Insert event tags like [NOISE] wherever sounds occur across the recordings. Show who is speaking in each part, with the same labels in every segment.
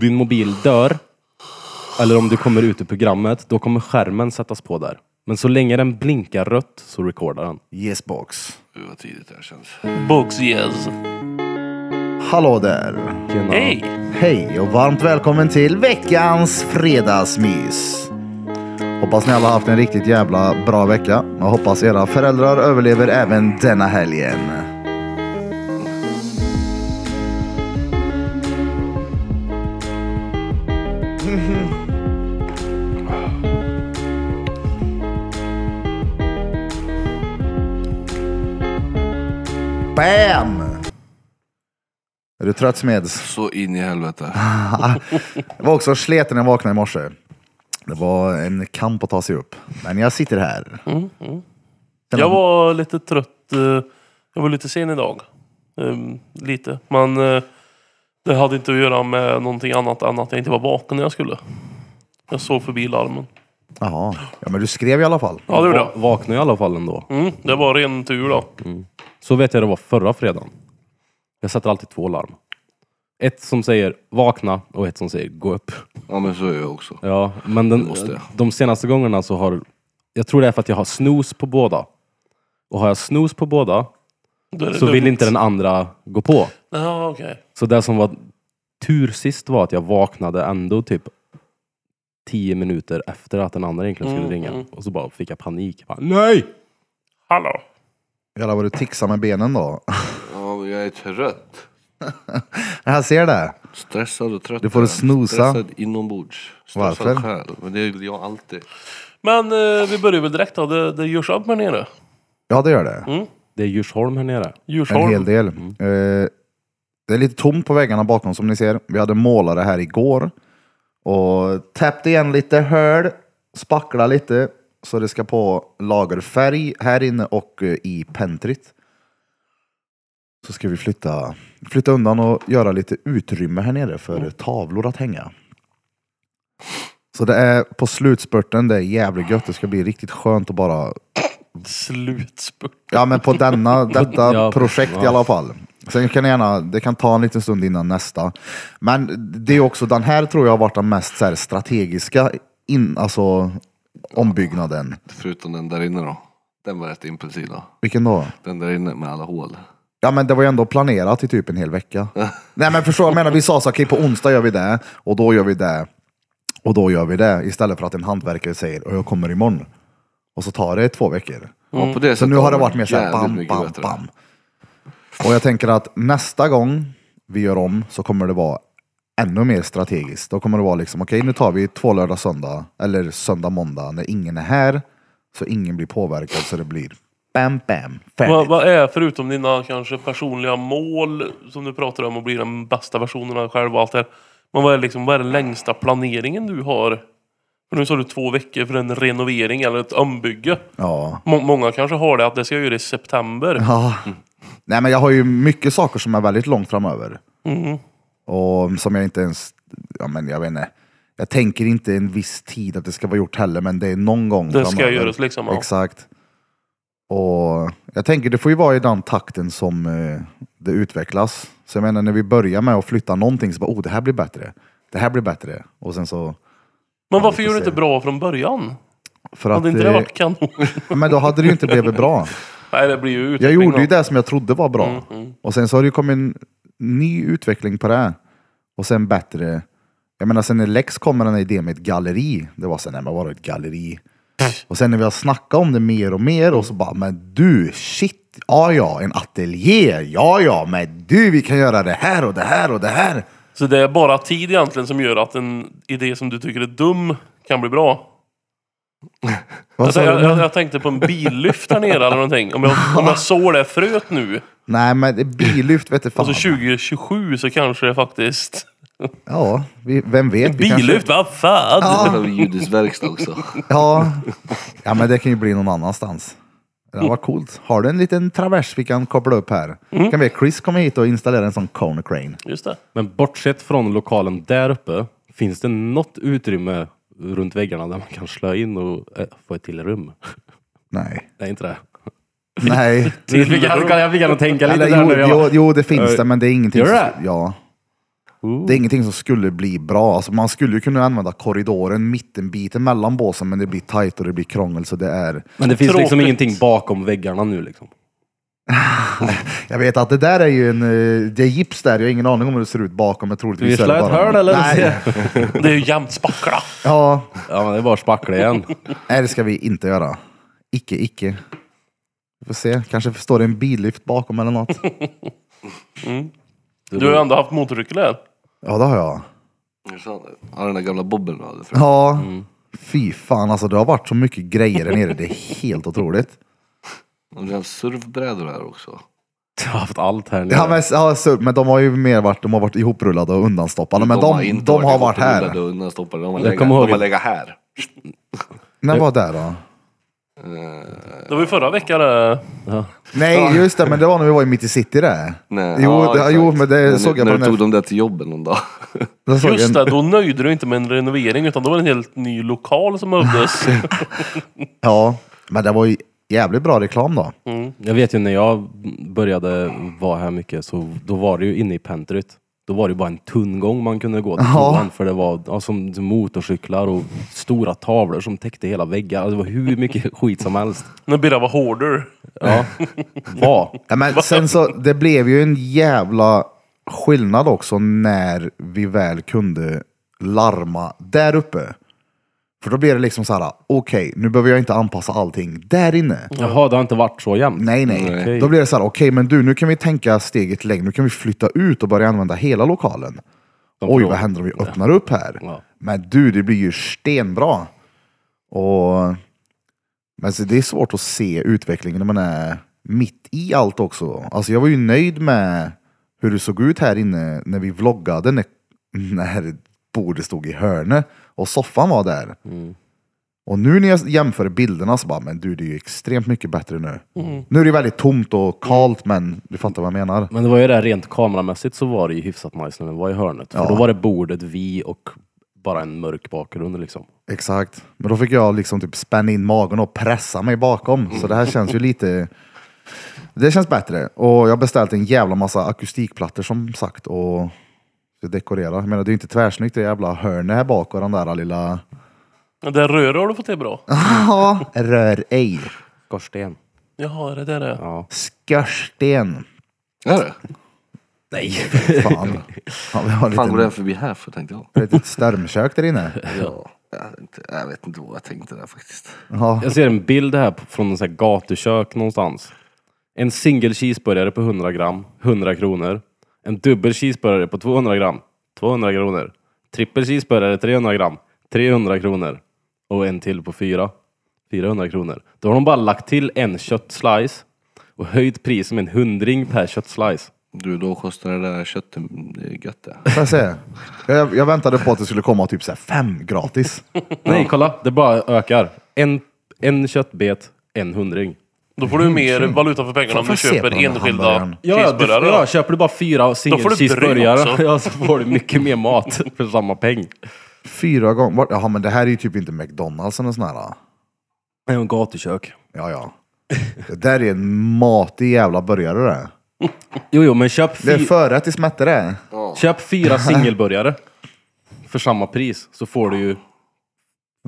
Speaker 1: din mobil dör, eller om du kommer ut ur programmet, då kommer skärmen sättas på där. Men så länge den blinkar rött så recordar den.
Speaker 2: Yes box.
Speaker 3: Gud vad tidigt det här känns. Box yes.
Speaker 2: Hallå där.
Speaker 1: Tjena.
Speaker 3: Hej!
Speaker 2: Hej och varmt välkommen till veckans fredagsmys. Hoppas ni alla haft en riktigt jävla bra vecka. Jag hoppas era föräldrar överlever även denna helgen. Bam! Är du trött Smeds?
Speaker 3: Så in i helvete.
Speaker 2: Jag var också sleten när jag vaknade i morse. Det var en kamp att ta sig upp. Men jag sitter här.
Speaker 4: Jag var lite trött. eh, Jag var lite sen idag. Ehm, Lite. Men eh, det hade inte att göra med någonting annat än att jag inte var vaken när jag skulle. Jag såg förbi larmen.
Speaker 2: Jaha. Ja, men du skrev i alla fall.
Speaker 4: Ja, det gjorde
Speaker 1: Va-
Speaker 4: jag.
Speaker 1: Vaknade i alla fall ändå.
Speaker 4: Mm, det var ren tur då.
Speaker 1: Så vet jag det var förra fredagen. Jag sätter alltid två larm. Ett som säger vakna och ett som säger gå upp.
Speaker 3: Ja men så är jag också.
Speaker 1: Ja, men den,
Speaker 3: måste jag.
Speaker 1: de senaste gångerna så har... Jag tror det är för att jag har snus på båda. Och har jag snus på båda
Speaker 4: Då är det
Speaker 1: så vill
Speaker 4: lugnt.
Speaker 1: inte den andra gå på.
Speaker 4: Ja, okej.
Speaker 1: Så det som var tur sist var att jag vaknade ändå typ tio minuter efter att den andra egentligen skulle ringa. Och så bara fick jag panik. Jag Bara, Nej!
Speaker 4: Hallå?
Speaker 2: Jävlar vad du tixar med benen då. [LAUGHS]
Speaker 3: Ja men jag är trött.
Speaker 2: Jag ser det.
Speaker 3: Stressad och trött.
Speaker 2: Du får
Speaker 3: är jag.
Speaker 2: snosa.
Speaker 3: Stressad inombords. Stressad
Speaker 2: Varför?
Speaker 3: själ. Men det är jag alltid.
Speaker 4: Men eh, vi börjar väl direkt då. Det, det görs upp här nere.
Speaker 2: Ja, det gör det.
Speaker 1: Det är Djursholm här nere.
Speaker 2: En
Speaker 4: Djursholm.
Speaker 2: hel del. Eh, Det är lite tomt på väggarna bakom som ni ser. Vi hade målare här igår. Och täppte igen lite hål. Spackla lite. Så det ska på lagerfärg här inne och eh, i pentryt. Så ska vi flytta, flytta undan och göra lite utrymme här nere för tavlor att hänga. Så det är på slutspurten, det är jävligt gött. Det ska bli riktigt skönt att bara
Speaker 4: Slutspurt.
Speaker 2: Ja men på denna, detta
Speaker 1: Ja,
Speaker 2: projekt i
Speaker 1: ja.
Speaker 2: alla fall. Sen kan det gärna, det kan ta en liten stund innan nästa. Men det är också, den här tror jag har varit den mest så här, strategiska in, alltså, ombyggnaden.
Speaker 3: Förutom den där inne då. Den var rätt impulsiv då.
Speaker 2: Vilken då?
Speaker 3: Den där inne med alla hål.
Speaker 2: Ja men det var ju ändå planerat i typ en hel vecka. Nej men förstår du vad jag menar? Vi sa så okej på onsdag gör vi det och då gör vi det och då gör vi det. Istället för att en hantverkare säger och jag kommer imorgon. Och så tar det två veckor.
Speaker 3: Ja, på det
Speaker 2: Mm. Så
Speaker 3: sättet
Speaker 2: nu har det
Speaker 3: var
Speaker 2: varit mer såhär
Speaker 3: jävligt
Speaker 2: bam,
Speaker 3: mycket
Speaker 2: bam,
Speaker 3: bättre.
Speaker 2: bam. Och jag tänker att nästa gång vi gör om så kommer det vara ännu mer strategiskt. Då kommer det vara liksom, okej nu tar vi två lördag, söndag, eller söndag, måndag, när ingen är här. Så ingen blir påverkad, så det blir bam, bam, färdigt.
Speaker 4: Vad, vad är, förutom dina kanske personliga mål som du pratar om och bli den bästa versionen av dig själv och allt det här. Men vad är, liksom, vad är den längsta planeringen du har? För nu sa du två veckor för en renovering eller ett ombygge.
Speaker 2: Ja.
Speaker 4: Må- många kanske har det att det ska jag göra i september.
Speaker 2: ja. Nej men jag har ju mycket saker som är väldigt långt framöver.
Speaker 4: Mm.
Speaker 2: Och som jag inte ens, ja men jag vet inte. Jag tänker inte en viss tid att det ska vara gjort heller, men det är någon gång
Speaker 4: Det ska
Speaker 2: framöver.
Speaker 4: göras liksom. Ja.
Speaker 2: Exakt. Och jag tänker det får ju vara i den takten som eh, det utvecklas. Så jag menar när vi börjar med att flytta någonting så bara, oh det här blir bättre. Det här blir bättre. Och sen så...
Speaker 4: Men varför gör du
Speaker 2: se.
Speaker 4: inte bra från början?
Speaker 2: För
Speaker 4: Hade inte det
Speaker 2: eh,
Speaker 4: varit
Speaker 2: [LAUGHS]
Speaker 4: kanon?
Speaker 2: Men då hade det ju inte blivit bra.
Speaker 4: Nej, det blir ju [LAUGHS]
Speaker 2: Jag
Speaker 4: utveckling
Speaker 2: gjorde ju
Speaker 4: då.
Speaker 2: det som jag trodde var bra.
Speaker 4: Mm.
Speaker 2: Och sen så har det ju kommit en ny utveckling på det. här. Och sen bättre. Jag menar sen när Lex kom med den här idén med ett galleri. Det var så nej men vadå ett galleri? Och sen när vi har snackat om det mer och mer och så bara, men du, shit, ja ja, en ateljé, ja ja, men du, vi kan göra det här och det här och det här.
Speaker 4: Så det är bara tid egentligen som gör att en idé som du tycker är dum kan bli bra.
Speaker 2: Vad
Speaker 4: Alltså,
Speaker 2: sa
Speaker 4: jag,
Speaker 2: du?
Speaker 4: jag, jag tänkte på en billyft här nere eller någonting. Om jag, om jag sår det fröet nu,
Speaker 2: Nej men det är bilyft vet du fan.
Speaker 4: alltså 2027 så kanske det faktiskt...
Speaker 2: Ja, vi, vem vet? vi kanske-
Speaker 4: Billyft, vad fan!
Speaker 3: Det var judisk verkstad också.
Speaker 2: Ja. ja, men det kan ju bli någon annanstans. Det var coolt. Har du en liten travers vi kan koppla upp här?
Speaker 1: Mm.
Speaker 2: Kan vi Chris komma hit och installera en sån corner crane?
Speaker 4: Just det.
Speaker 1: Men bortsett från lokalen där uppe, finns det något utrymme runt väggarna där man kan slå in och eh, få ett till rum? [LAUGHS]
Speaker 2: Nej.
Speaker 1: Nej, inte det.
Speaker 2: Nej.
Speaker 1: Jag fick jag fick gärna tänka lite
Speaker 2: Eller,
Speaker 1: där
Speaker 2: jo,
Speaker 1: nu. Jag
Speaker 2: jo,
Speaker 1: bara,
Speaker 2: jo, det finns det, men det är ingenting
Speaker 1: Gör
Speaker 2: som-
Speaker 1: det?
Speaker 2: Ja. Det är ingenting som skulle bli bra. Alltså man skulle ju kunna använda korridoren, mittenbiten mellan båsen, men det blir tajt och det blir krångel. Så det är...
Speaker 1: Men det finns liksom
Speaker 4: Tråkigt.
Speaker 1: ingenting bakom väggarna nu liksom.
Speaker 2: Jag vet att det där är ju en... eh, Det är gips där, jag har ingen aning om hur det ser ut bakom. Men
Speaker 1: Ska vi
Speaker 2: troligtvis är
Speaker 1: slå
Speaker 2: det
Speaker 1: ett
Speaker 2: bara...
Speaker 1: hål eller?
Speaker 2: Nej,
Speaker 4: Det är ju jämnt spackla.
Speaker 2: ja,
Speaker 1: Ja men det är bara att spackla igen.
Speaker 2: nej, det ska vi inte göra. Icke, icke. Vi får se, kanske står det en billift bakom eller något.
Speaker 4: Du har ju ändå haft motorcykel här.
Speaker 2: [LAUGHS] Ja, det har jag.
Speaker 3: Jag sa det. Ja, den där gamla bobben du hade förut.
Speaker 2: Ja, fy fan alltså. Det har varit så mycket grejer där nere. Det är helt otroligt.
Speaker 3: Och Vi har surfbrädor här också.
Speaker 1: Jag har haft allt här nere.
Speaker 2: [LAUGHS] Ja, men, ja, så, men de har ju mer varit, de har varit ihoprullade och undanstoppade. Men de, de, har varit här.
Speaker 3: Undan stoppade. De har
Speaker 1: Jag
Speaker 3: legat,
Speaker 1: kommer ihåg-
Speaker 3: de har legat här.
Speaker 2: När var det då?
Speaker 4: Det var ju förra veckan det.
Speaker 2: Nej, just det. Men det var när vi var i Mitt i City det.
Speaker 3: Nej,
Speaker 2: Jo,
Speaker 3: ja,
Speaker 2: det-
Speaker 3: exakt.
Speaker 2: jo, men det såg jag på
Speaker 3: när När
Speaker 2: den
Speaker 3: du
Speaker 2: här-
Speaker 3: tog dem där till jobben någon dag.
Speaker 2: Där såg
Speaker 4: Just
Speaker 2: jag
Speaker 4: det,
Speaker 2: en,
Speaker 4: då nöjde du inte med en renovering utan då var det en helt ny lokal som övdes.
Speaker 2: ja, men det var ju jävligt bra reklam då.
Speaker 1: Jag vet ju när jag började vara här mycket så då var det ju inne i pentryt. Då var det ju bara en tunn gång man kunde gå till
Speaker 2: Ja.
Speaker 1: toan för det var ja, som motorcyklar och stora tavlor som täckte hela väggar. Alltså, det var hur mycket [LAUGHS] skit som helst.
Speaker 4: När Birra var hoarder.
Speaker 1: Ja. [LAUGHS] Var.
Speaker 2: Ja, men sen så, det blev ju en jävla skillnad också när vi väl kunde larma där uppe. För då blir det liksom så här, okej, nu behöver jag inte anpassa allting där inne.
Speaker 1: Jaha, det har inte varit så jämnt?
Speaker 2: Nej, nej.
Speaker 1: Okej.
Speaker 2: Då blir det så här, okej, men du, nu kan vi tänka steget längre. Nu kan vi flytta ut och börja använda hela lokalen.
Speaker 1: De
Speaker 2: Oj,
Speaker 1: tror-
Speaker 2: vad händer om vi öppnar upp här?
Speaker 1: Ja.
Speaker 2: Men du, det blir ju stenbra. Och, men så det är svårt att se utvecklingen när man är mitt i allt också. Alltså jag var ju nöjd med hur det såg ut här inne när vi vloggade, när, [LAUGHS] när bordet stod i hörnet och soffan var där. Och nu när jag jämför bilderna så bara, men du, det är ju extremt mycket bättre nu. Nu är det väldigt tomt och kalt, men du fattar vad jag menar.
Speaker 1: Men det var ju det, rent kameramässigt så var det ju hyfsat nice när vi var i hörnet. För då var det bordet, vi och bara en mörk bakgrund liksom.
Speaker 2: Exakt. Men då fick jag liksom typ spänna in magen och pressa mig bakom. Så det här känns ju lite... Det känns bättre. Och jag har beställt en jävla massa akustikplattor som sagt och ska dekorera. Jag menar, det är ju inte tvärsnyggt det jävla hörnet här bak och den där lilla...
Speaker 4: Det röret har du fått till bra.
Speaker 2: Ja, [LAUGHS] rör ej.
Speaker 1: Skorsten.
Speaker 4: Jaha, är det där det är?
Speaker 1: Ja.
Speaker 2: Skorsten.
Speaker 3: Är det?
Speaker 1: Nej!
Speaker 2: Fan. Ja, vi har
Speaker 3: fan går
Speaker 2: lite,
Speaker 3: den förbi här för tänkte jag.
Speaker 2: ett litet stormkök där inne.
Speaker 3: Ja. Jag, vet inte, jag vet inte vad jag tänkte där faktiskt.
Speaker 2: Ja.
Speaker 1: Jag ser en bild här på- från en sån här gatukök någonstans. En single cheeseburgare på 100 gram, 100 kronor. En dubbel cheeseburgare på 200 gram, 200 kronor. Trippel cheeseburgare 300 gram, 300 kronor. Och en till på 4, 400 kronor. Då har de bara lagt till en köttslice och höjt priset med en hundring per köttslice.
Speaker 3: Du, då kostar det där köttet det är gött det.
Speaker 2: Får jag se? Jag, jag väntade på att det skulle komma typ så här fem gratis.
Speaker 1: Nej, kolla! Det bara ökar. En, en köttbet, en hundring.
Speaker 4: Då får du ju mer valuta för pengarna om
Speaker 2: Får
Speaker 4: du
Speaker 2: jag se på
Speaker 4: köper
Speaker 2: den här
Speaker 4: enskilda
Speaker 2: hamburgaren?
Speaker 1: Ja, ja, du,
Speaker 4: cheeseburgare.
Speaker 1: ja, köper du bara fyra
Speaker 4: Då får du bröd
Speaker 1: singelcheeseburgare [LAUGHS]
Speaker 4: också.
Speaker 1: ja, så får du mycket mer mat [LAUGHS] för samma peng.
Speaker 2: Fyra gånger. Vart- Jaha, men det här är ju typ inte McDonalds eller sån här.
Speaker 1: En gatukök.
Speaker 2: Ja, ja. Det där är en matig jävla burgare det.
Speaker 1: Jo, jo, men köp,
Speaker 2: Det är
Speaker 1: fy,
Speaker 2: förrätt till smätte det.
Speaker 1: köp
Speaker 2: [LAUGHS]
Speaker 1: fyra singelburgare för samma pris så får du ju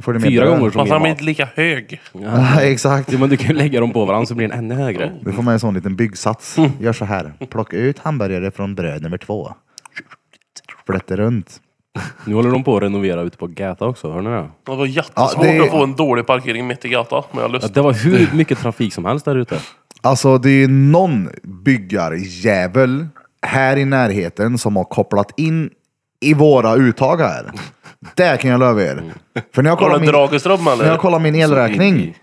Speaker 2: Får du med
Speaker 1: fyra
Speaker 2: bröd?
Speaker 1: gånger så
Speaker 4: Fast
Speaker 1: mer
Speaker 4: han blir
Speaker 1: mat.
Speaker 4: inte lika hög.
Speaker 2: Ja, [LAUGHS] exakt.
Speaker 1: Jo, men du kan ju lägga dem på varandra så blir den ännu
Speaker 4: Oh.
Speaker 1: högre.
Speaker 2: Nu får man en sån liten byggsats.
Speaker 1: Mm.
Speaker 2: Gör så här. Plocka ut hamburgare från bröd nummer två. Flätter runt.
Speaker 1: Nu håller de på att renovera ute på Gäta också, hör ni det?
Speaker 4: Det var jättesvårt
Speaker 2: Ja, det-
Speaker 4: att få en dålig parkering mitt i gatan. Men jag har
Speaker 1: Ja,
Speaker 4: lust.
Speaker 1: det var hur mycket trafik som helst där ute.
Speaker 2: Alltså det är ju någon byggarjävel här i närheten som har kopplat in i våra uttag här. Det kan jag lova er. För när jag
Speaker 4: Har
Speaker 2: kollar
Speaker 4: du
Speaker 2: min,
Speaker 4: Dragelström eller?
Speaker 2: när jag kollar min elräkning.
Speaker 3: Alltså, I-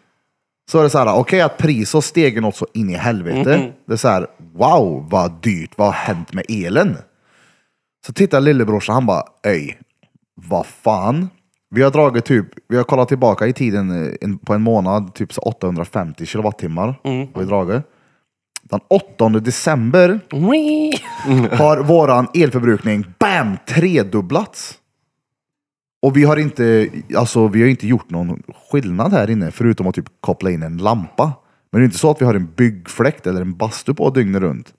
Speaker 2: Så är det så här, okej att priset steg något så in i helvete. Det är så här, wow vad dyrt, vad har hänt med elen? Så tittar lillebrorsan, han bara, öj, vad fan? Vi har dragit typ, vi har kollat tillbaka i tiden eh, en, på en månad, typ så 850 kilowattimmar har vi dragit. Den 8 december
Speaker 4: Wee!
Speaker 2: har våran elförbrukning, bam, tredubblats. Och vi har inte, alltså vi har inte gjort någon skillnad här inne, förutom att typ koppla in en lampa. Men det är inte så att vi har en byggfläkt eller en bastu på dygnet runt.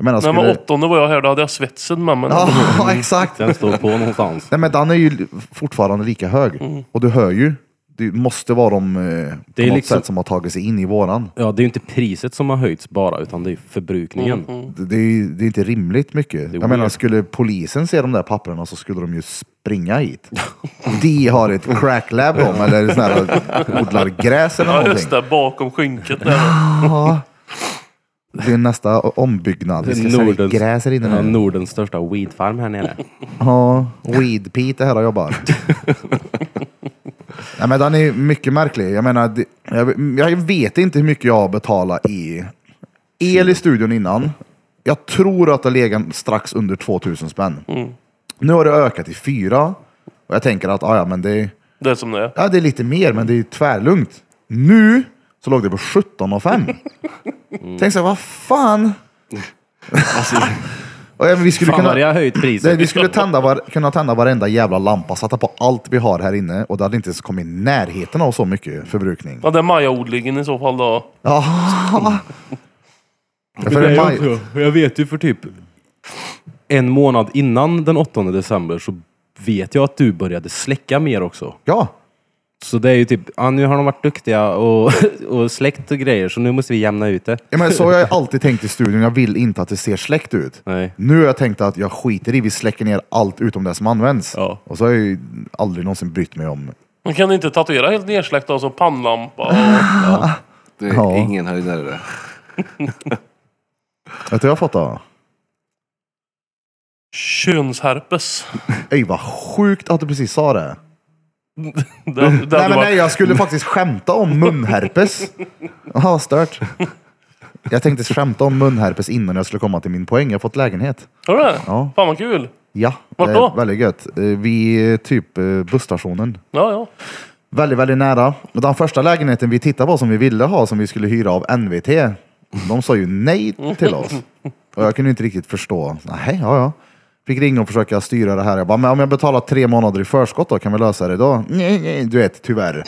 Speaker 2: Jag menar,
Speaker 4: Nej
Speaker 2: skulle...
Speaker 4: men åttonde var jag här, då hade jag svetsen
Speaker 2: [LAUGHS]
Speaker 4: med mig.
Speaker 2: Ja, exakt.
Speaker 1: Den står på någonstans.
Speaker 2: Nej, men den är ju fortfarande lika hög. Och du hör ju. Det måste vara de eh, på
Speaker 1: Mm. Det är
Speaker 2: något
Speaker 1: liksom-
Speaker 2: sätt som har tagit sig in i våran.
Speaker 1: Ja, det är ju inte priset som har höjts bara, utan det är förbrukningen.
Speaker 4: Mm,
Speaker 2: Det det är, ju, det är inte rimligt mycket. Jag
Speaker 1: weird.
Speaker 2: menar, skulle polisen se de där papperna så skulle de ju springa hit. De har ett cracklab om, eller sån här, odlar gräs eller
Speaker 4: Ja,
Speaker 2: någonting.
Speaker 4: just det, bakom skynket där.
Speaker 2: Ja. Det är nästa ombyggnad. Vi ska sälja gräs här inne
Speaker 1: ja,
Speaker 2: nu.
Speaker 1: Nordens största weedfarm här nere.
Speaker 2: Ja, Weed Pete här och jobbar. [LAUGHS] Nej, men den är mycket märklig. Jag menar, det- jag- jag vet inte hur mycket jag betalade i el i studion innan. Jag tror att det legat strax under 2000 spänn. Nu har det ökat till fyra. Och jag tänker att ah, ja, men det,
Speaker 4: Det är som det är.
Speaker 2: ja, det är lite mer, men det är ju tvärlugnt. Nu så låg det på [LAUGHS] 17,5. Tänk så här, vad fan?
Speaker 3: alltså,
Speaker 2: och, ja, men vi skulle
Speaker 1: Fan vad det
Speaker 2: kunna...
Speaker 1: har höjt priset.
Speaker 2: Nej, vi skulle tända var, kunna tända varenda jävla lampa, sätta på allt vi har här inne och det hade inte ens kommit i närheten av så mycket förbrukning.
Speaker 4: Ja, det är majaodlingen i så fall då.
Speaker 2: Ja.
Speaker 1: [LAUGHS]
Speaker 2: För en maj-
Speaker 1: Jag vet ju för typ en månad innan den 8 december så vet jag att du började släcka mer också.
Speaker 2: ja,
Speaker 1: Så det är ju typ, ja, nu har de varit duktiga och, [LAUGHS] och släckt och grejer så nu måste vi jämna ut det.
Speaker 2: Ja, men så har jag alltid tänkt i studion. Jag vill inte att det ser släckt ut.
Speaker 1: Nej.
Speaker 2: Nu har jag tänkt att jag skiter i, vi släcker ner allt utom det som används.
Speaker 1: Ja.
Speaker 2: Och så har jag ju aldrig någonsin brytt mig om
Speaker 4: Man kan inte tatuera helt nersläckt alltså pannlampa och...
Speaker 3: Det är
Speaker 2: Ja.
Speaker 3: ingen höjdare det.
Speaker 2: Vet du vad jag fått då?
Speaker 4: Könsherpes.
Speaker 2: Ej vad sjukt att du precis sa det.
Speaker 4: Det, det hade
Speaker 2: Nej, men
Speaker 4: varit-
Speaker 2: nej, jag skulle faktiskt skämta om munherpes. Jaha, vad stört. Jag tänkte skämta om munherpes innan jag skulle komma till min poäng. Jag har fått lägenhet.
Speaker 4: Har du det?
Speaker 2: Ja.
Speaker 4: Fan vad kul.
Speaker 2: Ja,
Speaker 4: Vart
Speaker 2: det
Speaker 4: då?
Speaker 2: är väldigt gött. Eh, Vid eh, typ eh, busstationen.
Speaker 4: Ja, ja.
Speaker 2: Väldigt, väldigt nära. Och Den första lägenheten vi tittade på som vi ville ha, som vi skulle hyra av NVT, de sa ju nej till oss. Och jag kunde inte riktigt förstå. Nej, ja, ja. Fick ringa och försöka styra det här. Jag bara, men om jag betalar tre månader i förskott då, kan vi lösa det då? Nej, nej, du vet, tyvärr.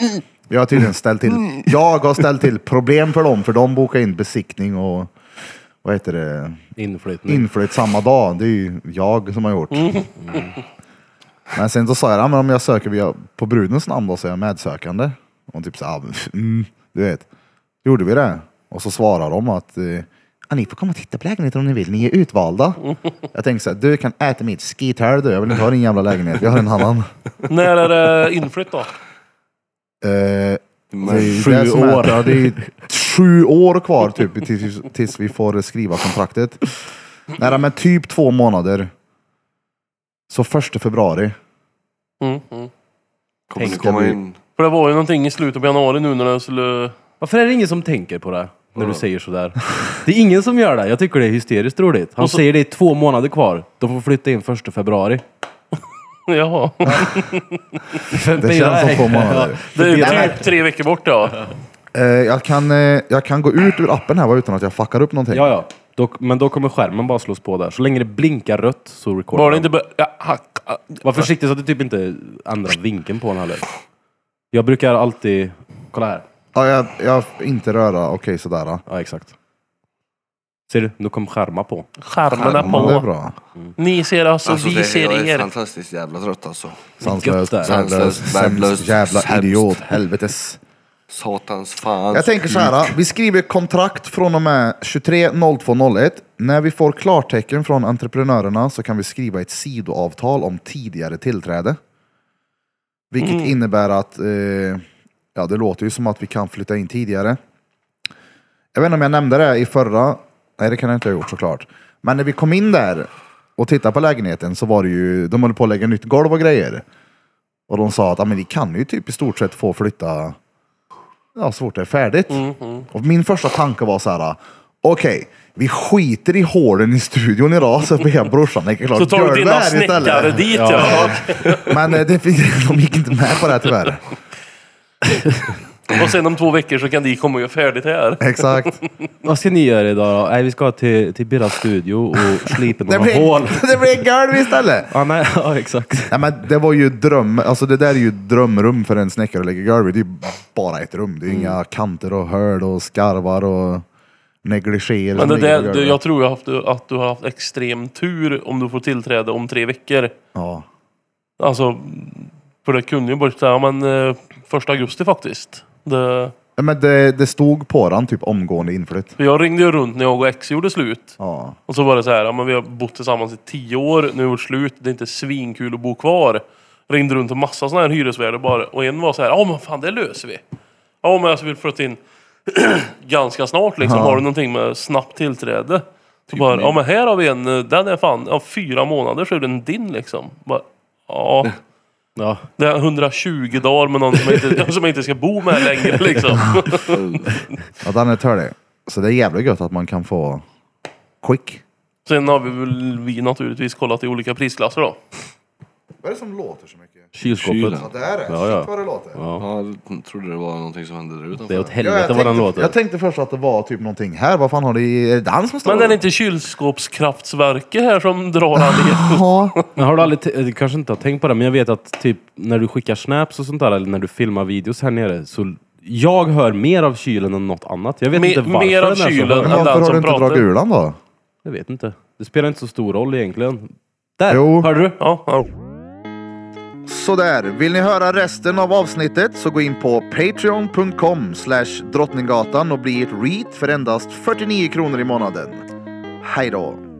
Speaker 2: Jag har tydligen ställt till, jag har ställt till problem för dem, för de bokar in besiktning och vad heter det?
Speaker 1: Inflyttning.
Speaker 2: inflöt samma dag. Det är ju jag som har gjort. Mm. Men sen så sa jag, ja, men om jag söker via, på brudens namn då så är jag medsökande. Och hon typ så här, "Ah, mm, du vet. Gjorde vi det? Och så svarar de att eh, "Ja, ni får komma och titta på lägenheten om ni vill, ni är utvalda. Jag tänkte så här, du kan äta mitt skithål du, jag vill inte ha din jävla lägenhet, jag har en annan.
Speaker 4: När är det inflytt då?
Speaker 2: Eh, det är
Speaker 3: Men,
Speaker 2: ju
Speaker 1: Sju
Speaker 2: det som
Speaker 1: år.
Speaker 2: Är, ja, det är ju sju år kvar typ tills, tills vi får skriva kontraktet. Nej men typ två månader. Så första februari.
Speaker 4: Mm, mm.
Speaker 3: kommer ni
Speaker 1: tänk
Speaker 3: komma
Speaker 2: dig-
Speaker 3: in?
Speaker 4: För det var ju någonting i slutet på januari nu när jag skulle...
Speaker 1: [LAUGHS] Varför är det ingen som tänker på det? När du säger sådär. Det är ingen som gör det. Jag tycker det är hysteriskt roligt. Han säger det är två månader kvar. De får flytta in första februari.
Speaker 4: Jaha.
Speaker 1: [LAUGHS]
Speaker 2: Det känns som två månader.
Speaker 4: Det är ju
Speaker 2: Nej,
Speaker 4: typ tre veckor bort ja.
Speaker 2: Eh, jag, kan, eh, jag kan gå ut ur appen här va, utan att jag fuckar upp någonting.
Speaker 1: Ja, ja. Då, men då kommer skärmen bara slås på där. Så länge det blinkar rött så recordar
Speaker 4: Bara det
Speaker 1: den.
Speaker 4: inte bör... Ja, hack, ah,
Speaker 1: Var försiktig så att du typ inte ändrar vinkeln på den heller. Jag brukar alltid... Kolla här.
Speaker 2: Ja, jag, jag inte röra, okej sådär. då.
Speaker 1: Ja, exakt. Ser du? Nu kom skärma på.
Speaker 4: Skärmen är
Speaker 2: Men det är
Speaker 4: på.
Speaker 2: bra.
Speaker 4: Ni ser oss och
Speaker 3: Alltså,
Speaker 4: vi
Speaker 3: det, jag
Speaker 4: ser
Speaker 3: är
Speaker 4: er.
Speaker 3: fantastiskt jävla trött alltså.
Speaker 2: Sanslöst,
Speaker 1: Gött där.
Speaker 2: värdelöst,
Speaker 3: Sanslöst,
Speaker 2: sämst,
Speaker 3: värdelöst,
Speaker 2: jävla
Speaker 3: sämst.
Speaker 2: idiot, helvetes.
Speaker 3: Satans fan.
Speaker 2: Jag tänker så här, vi skriver kontrakt från och med 23.02.01. När vi får klartecken från entreprenörerna så kan vi skriva ett sidoavtal om tidigare tillträde. Vilket innebär att, eh, ja det låter ju som att vi kan flytta in tidigare. Jag vet inte om jag nämnde det i förra, nej det kan jag inte ha gjort såklart. Men när vi kom in där och tittade på lägenheten så var det ju, de höll på att lägga nytt golv och grejer. Och de sa att ja, men vi kan ju typ i stort sett få flytta ja, så fort det är färdigt.
Speaker 4: Mm-hmm.
Speaker 2: Och min första tanke var så här, okej, vi skiter i hålen i studion idag så ber jag brorsan lägga klart
Speaker 4: Så tar du
Speaker 2: golvet
Speaker 4: dina
Speaker 2: här istället."
Speaker 4: snickare dit ja.
Speaker 2: Men eh, det, fick- de gick inte med på det här tyvärr.
Speaker 4: [LAUGHS] Och sen om två veckor så kan de komma och göra färdigt här.
Speaker 2: Exakt.
Speaker 1: Vad ska ni göra idag då? Nej, vi ska till, till Birras studio och
Speaker 2: [LAUGHS]
Speaker 1: slipa
Speaker 2: Det
Speaker 1: några hål.
Speaker 2: blir, det blir golv istället.
Speaker 1: Ja, nej, [LAUGHS] ja, exakt.
Speaker 2: Nej, men det var ju dröm, alltså det där är ju ett drömrum för en
Speaker 4: Mm.
Speaker 2: snickare att lägga golv i. Det är ju bara ett rum. Det är inga kanter och hål och skarvar och negligeer
Speaker 4: Men
Speaker 2: som
Speaker 4: det
Speaker 2: ligger på
Speaker 4: där,
Speaker 2: golvet.
Speaker 4: du, jag tror jag haft, att du har haft extrem tur om du får tillträde om tre veckor.
Speaker 2: Ja.
Speaker 4: Alltså, för det kunde ju bara säga, ja, men eh, första augusti faktiskt. Det,
Speaker 2: Ja, Men det, det stod på den typ omgående inflytt.
Speaker 4: för jag ringde ju runt när jag och ex gjorde slut.
Speaker 2: Ja.
Speaker 4: Och så var det så här, ja, men vi har bott tillsammans i tio år, nu är det slut, det är inte svinkul att bo kvar. Ringde runt till massa sådana här hyresvärdar bara, och en var så här, ja men fan det löser vi. Ja men jag vill flytta in [CLEARS THROAT] ganska snart liksom, har du någonting med snabbt tillträde? Så bara, ja men här har vi en, eh, den är fan, ja, fyra månader så är den din liksom. Bara, ja,
Speaker 1: Ja.
Speaker 4: det är 120 dagar med någon som jag inte, [LAUGHS] som jag inte ska bo med längre liksom.
Speaker 3: Mm.
Speaker 2: ja, den är törlig. Så det är jävligt gött att man kan få quick.
Speaker 4: Sen har vi väl vi naturligtvis kollat i olika prisklasser då.
Speaker 2: Vad är det som låter så mycket?
Speaker 1: Kylskåpet.
Speaker 3: Kylen.
Speaker 2: Det är det.
Speaker 1: Ja, ja. Shit,
Speaker 2: vad det låter.
Speaker 3: Ja, jag trodde det var någonting som hände där
Speaker 1: Det är åt
Speaker 3: utanför.
Speaker 1: helvete vad den låter.
Speaker 2: jag tänkte först att det var typ någonting här. Vad fan har det i... Är det den som står?
Speaker 4: Men är det inte kylskåpskraftsverket här som drar all el?
Speaker 2: Ja.
Speaker 1: Men har du aldrig, t- du kanske inte har tänkt på det, men jag vet att typ när du skickar snaps och sånt där, eller när du filmar videos här nere, så jag hör mer av kylen än något annat. Jag vet
Speaker 4: Me-
Speaker 1: inte varför.
Speaker 4: mer av
Speaker 1: den är så
Speaker 4: kylen
Speaker 1: hög.
Speaker 4: än-
Speaker 2: Men varför
Speaker 4: den
Speaker 2: har
Speaker 4: som
Speaker 2: du inte
Speaker 4: pratar.
Speaker 2: dragit ur den då?
Speaker 1: Jag vet inte. Det spelar inte så stor roll egentligen. Där!
Speaker 2: Jo.
Speaker 1: Hörde du?
Speaker 4: Ja, ja.
Speaker 2: Sådär, vill ni höra resten av avsnittet så gå in på patreon.com slash drottninggatan och bli ett reat för endast 49 kronor i månaden. Hej då!